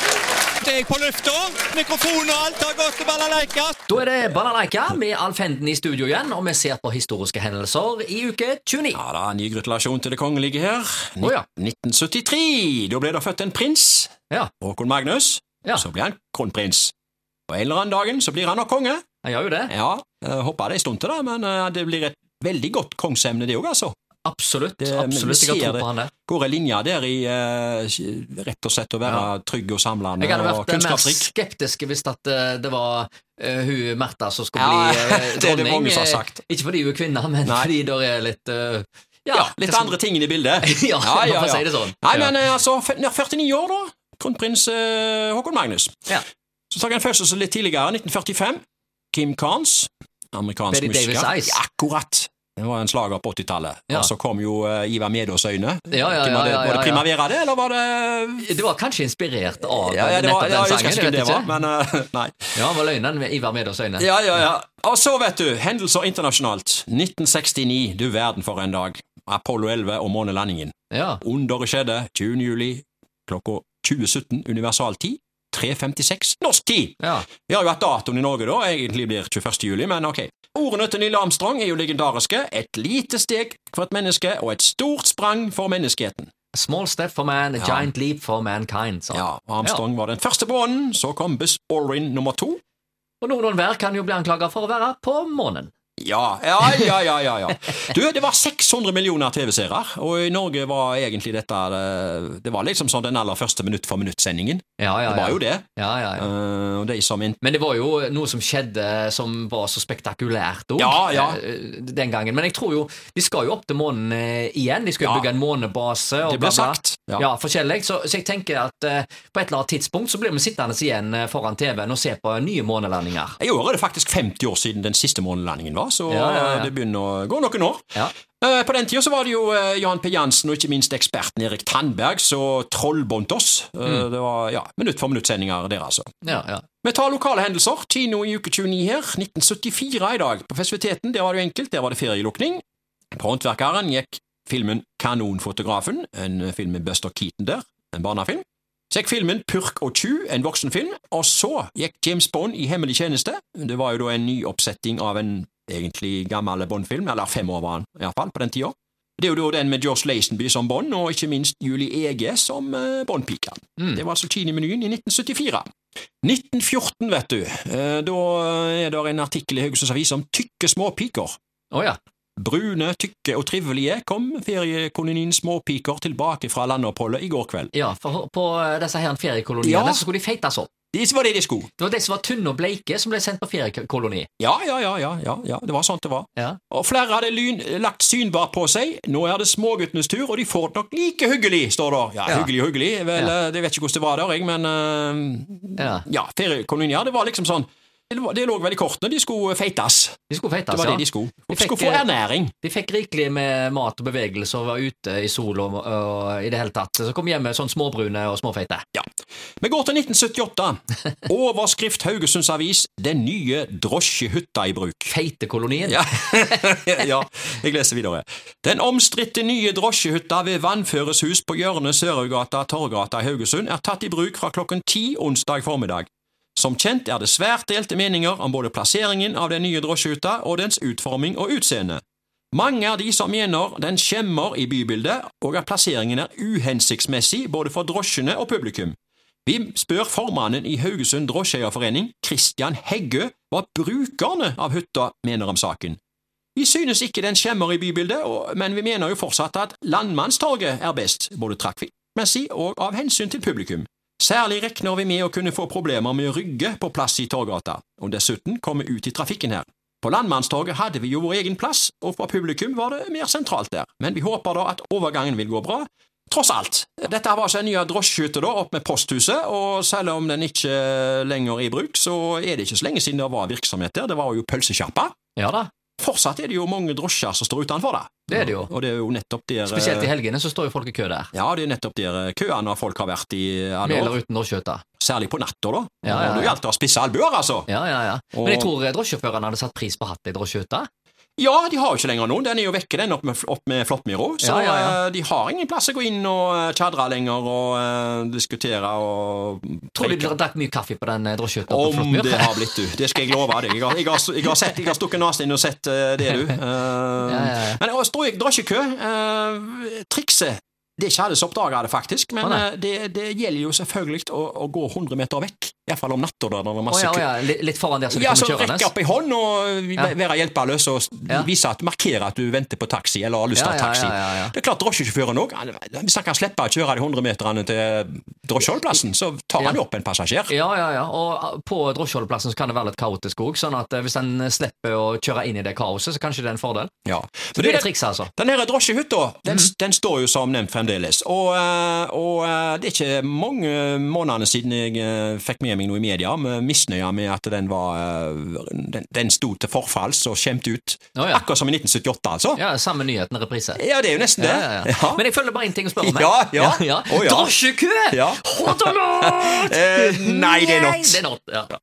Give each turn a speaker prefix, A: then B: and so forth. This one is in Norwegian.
A: Først er jeg på lufta. Mikrofon og alt har gått til balalaika.
B: Da er det Balalaika med Alfenden i studio igjen, og vi ser på historiske hendelser i uke 29.
A: Ja da, ny gratulasjon til det kongelige her. Ni-
B: Å ja.
A: 1973. Da ble det født en prins.
B: Ja.
A: Håkon Magnus.
B: Ja.
A: Så ble han kronprins. Og en eller annen dagen så blir han nok konge.
B: Han gjør jo det.
A: Ja, eh, hoppa det en stund til, da, men eh, det blir et veldig godt kongsemne, det òg, altså.
B: Absolutt.
A: Det- men vi
B: absolutt. Jeg
A: ser
B: har tro
A: det.
B: på han der.
A: Går ei linje der i eh, rett og slett å være trygg og samlende
B: Jeg hadde
A: og
B: vært eh, mer
A: kunnskapsrik?
B: skeptisk hvis at eh, det var eh, hun Märtha som skulle
A: Ja,
B: bli
A: det er
B: eh,
A: det
B: dronning.
A: mange som har
B: Eh,
A: sagt.
B: Ikke fordi hun er kvinne, men
A: Nei.
B: fordi det er litt eh,
A: Ja,
B: det
A: litt
B: skal-
A: andre ting inn i bildet.
B: Ja,
A: Ja, ja,
B: man får
A: ja.
B: si det sånn.
A: Nei,
B: Ja.
A: men eh, altså, f- nær 49 år, da. Kronprins eh, Håkon Magnus.
B: Ja.
A: Så tok han fødsel litt tidligere, 1945. Kim Carnes, amerikansk
B: Betty Davis
A: musiker.
B: Ice.
A: Ja, akkurat. Det var en slager på 80-tallet.
B: Ja.
A: Og så kom jo eh, Ivar Medås øyne.
B: Ja, ja,
A: Hvem var det-
B: ja, ja,
A: Var
B: ja.
A: det Primavera, det, eller var det
B: Det var kanskje inspirert av
A: ja, ja, det var,
B: nettopp den
A: ja, jeg husker
B: sangen.
A: ikke
B: jeg
A: hvem
B: vet
A: det var,
B: ikke.
A: men eh, nei.
B: Ja, han var løgnen med Ivar Medås øyne.
A: Ja, ja, ja. Og så, vet du, hendelser internasjonalt. 1969, du verden for en dag. Apollo 11 og månelandingen.
B: Ja.
A: Underet skjedde 20. juli klokka 2017 universal tid. 3.56 norsk tid!
B: ja.
A: Vi har jo hatt datoen i Norge, da. Egentlig blir 21. juli, men ok. Ordene til Neil Armstrong er jo legendariske. Et lite steg for et menneske, og et stort sprang for menneskeheten.
B: A small step for man, a giant leap for mankind. sa han.
A: Ja, Armstrong var den første på månen, så kom Buzz Orrin nummer to.
B: Og noen og enhver kan jo bli anklaget for å være på månen.
A: Ja, ja, ja, ja, ja, ja. Du, det var 600 millioner TV-seere, og i Norge var egentlig dette eh, Det var liksom sånn den aller første minutt for minutt-sendingen.
B: Ja, ja,
A: Det
B: ja.
A: var jo det.
B: Ja, ja, ja.
A: Eh, Og de som in-
B: Men det var jo noe som skjedde som var så spektakulært òg,
A: Ja, ja.
B: den gangen. Men jeg tror jo De skal jo opp til månen eh, igjen. De skal jo
A: Ja.
B: bygge en månebase. Og
A: Det ble
B: bla, bla.
A: sagt.
B: Ja.
A: Ja.
B: forskjellig. Så, så jeg tenker at eh, på et eller annet tidspunkt så blir vi sittende igjen eh, foran TV-en og se på nye månelandinger.
A: I år er det faktisk 50 år siden den siste månelandingen var, så
B: Ja, ja, ja.
A: eh, det begynner å gå noen år.
B: Ja.
A: Eh, På den tida så var det jo eh, Johan P. Jansen og ikke minst eksperten Erik Tandberg som trollbåndt oss. Eh,
B: Mm.
A: Det var ja, minutt for minutt-sendinger der, altså.
B: Ja, ja.
A: Vi tar lokale hendelser. Kino i uke 29 her. 1974 i dag. På festiviteten, der var det jo enkelt, der var det ferielukning. På Håndverkeren gikk filmen Kanonfotografen, en eh, film med Buster Keaton der, en barnefilm. Så gikk filmen Purk og tju, en voksenfilm, og så gikk James Bond i Hemmelig tjeneste. Det var jo da en ny oppsetting av en egentlig gammel Bond-film, eller fem år var han iallfall, på den tida. Det er jo da den med Josh Lazenby som Bond, og ikke minst Julie Ege som eh, Bond-pika.
B: Mm.
A: Det var altså Kini-menyen i 1974. 1914, vet du. Eh, Da er det en artikkel i Haugesunds Avis om tykke småpiker.
B: Å ja.
A: Brune, tykke og trivelige kom feriekolonien Småpiker tilbake fra landoppholdet i går kveld.
B: ja. For på eh, disse her feriekoloniene
A: Ja.
B: så skulle de feites opp.
A: Det var det de skulle.
B: Det var de som var tynne og bleike, som ble sendt på feriekoloni.
A: Ja, ja, ja, ja, ja, ja, det var sånt det var.
B: Ja.
A: Og flere hadde lyn, lagt synbar på seg. Nå er det småguttenes tur, og de får det nok like hyggelig, står det. Ja,
B: Ja.
A: hyggelig, hyggelig. Vel,
B: Ja.
A: eh, jeg vet ikke hvordan det var der, jeg, men eh,
B: Ja.
A: ja, feriekolonier, det var liksom sånn Det var- det lå vel i kortene, de skulle feites.
B: De skulle feites,
A: Det var
B: ja.
A: det de skulle.
B: De
A: De
B: fikk,
A: skulle få
B: eh,
A: ernæring.
B: De fikk rikelig med mat og bevegelse og var ute i sol og, og i det hele tatt. Så kom hjem med sånn småbrune og småfeite.
A: Vi går til 1978. Overskrift Haugesunds Avis 'Den nye drosjehytta i bruk'.
B: Feitekolonien.
A: Ja. ja, jeg leser videre. Den omstridte nye drosjehytta ved Vannføres hus på hjørnet Sørøygata-Torgata i Haugesund er tatt i bruk fra klokken ti onsdag formiddag. Som kjent er det svært delte meninger om både plasseringen av den nye drosjehytta og dens utforming og utseende. Mange er de som mener den skjemmer i bybildet, og at plasseringen er uhensiktsmessig både for drosjene og publikum. Vi spør formannen i Haugesund drosjeeierforening, Christian Heggø, hva brukerne av hytta mener om saken. Vi synes ikke den skjemmer i bybildet, og- men vi mener jo fortsatt at Landmannstorget er best, både trafikkmessig og av hensyn til publikum. Særlig regner vi med å kunne få problemer med å rygge på plass i Torgata, og dessuten komme ut i trafikken her. På Landmannstorget hadde vi jo vår egen plass, og for publikum var det mer sentralt der, men vi håper da at overgangen vil gå bra, Tross alt. Dette var altså en ny drosjehytte da, opp med posthuset, og selv om den ikke lenger er i bruk, så er det ikke så lenge siden det var virksomhet der. Det var jo pølsesjappa.
B: Ja da,
A: Fortsatt er det jo mange drosjer som står utenfor, da.
B: det er det jo.
A: Og det er jo nettopp der
B: Spesielt i helgene så står jo folk i kø der.
A: Ja, det er nettopp der eh, køene av folk har vært i alle
B: Med
A: år.
B: eller uten drosjehytte.
A: Særlig på natta, da.
B: Ja, ja,
A: Og Det
B: ja.
A: gjaldt å ha spisse albuer, altså.
B: Ja, ja, ja.
A: Og-
B: Men jeg tror eh, drosjesjåførene hadde satt pris på å hatt ei drosjehytte.
A: Ja, de har jo ikke lenger noen. Den er jo vekke, den, opp med, opp med Flåttmyra. Så
B: Ja, ja, ja.
A: eh, de har ingen plass å gå inn og eh, tjadre lenger og eh, diskutere og
B: Tror du de drakk mye kaffe på den eh, drosjehytta? på
A: Om
B: Flåttmyr?
A: det har blitt du. Det skal jeg love deg. Jeg har, jeg har, jeg har, sett, jeg har stukket nesen inn og sett eh, det, du. Eh,
B: ja, ja.
A: Men jeg står i drosjekø. eh, trikset Det er ikke alle som oppdager det, faktisk, men
B: Å, nei.
A: eh, det, det gjelder jo selvfølgelig å, å gå 100 meter vekk. Iallfall om natta, da det er
B: Å
A: masse
B: ja, å
A: kø.
B: ja, li- litt foran der som de
A: Ja, så
B: kommer kjørende?
A: rekke opp ei hånd og
B: Ja.
A: være hjelpeløs og s-
B: Ja.
A: vise at, markere at du venter på taxi, eller har lyst
B: Ja,
A: til
B: ja,
A: taxi.
B: ja, ja, ja.
A: Det er klart drosjesjåføren òg. Hvis han kan slippe å kjøre de 100 meterne til drosjeholdplassen, så tar han
B: Ja.
A: jo opp en passasjer.
B: Ja, ja, ja. Og ah, på drosjeholdeplassen så kan det være litt kaotisk òg. Sånn at eh, hvis en slipper å kjøre inn i det kaoset, så kanskje det er en fordel.
A: Ja.
B: Så det er et triks, altså.
A: Den her drosjehytta den,
B: Mhm.
A: den står jo som nevnt fremdeles. Og, eh, og eh, det er ikke mange månedene siden jeg eh, fikk med meg noe i media med misnøye med at den, var, eh, den, den sto til forfalls og skjemt ut.
B: Å, ja.
A: Akkurat som i 1978, altså. Ja.
B: Ja, Samme nyheten, reprise.
A: det er jo nesten Eh, det.
B: Ja, ja, ja.
A: Ja.
B: Men jeg føler bare én ting å spørre om.
A: Ja, ja.
B: ja.
A: Å, ja.
B: Drosjekø!
A: Ja.
B: Hot or not?
A: Eh, nei, det er not.
B: Det er not. Ja.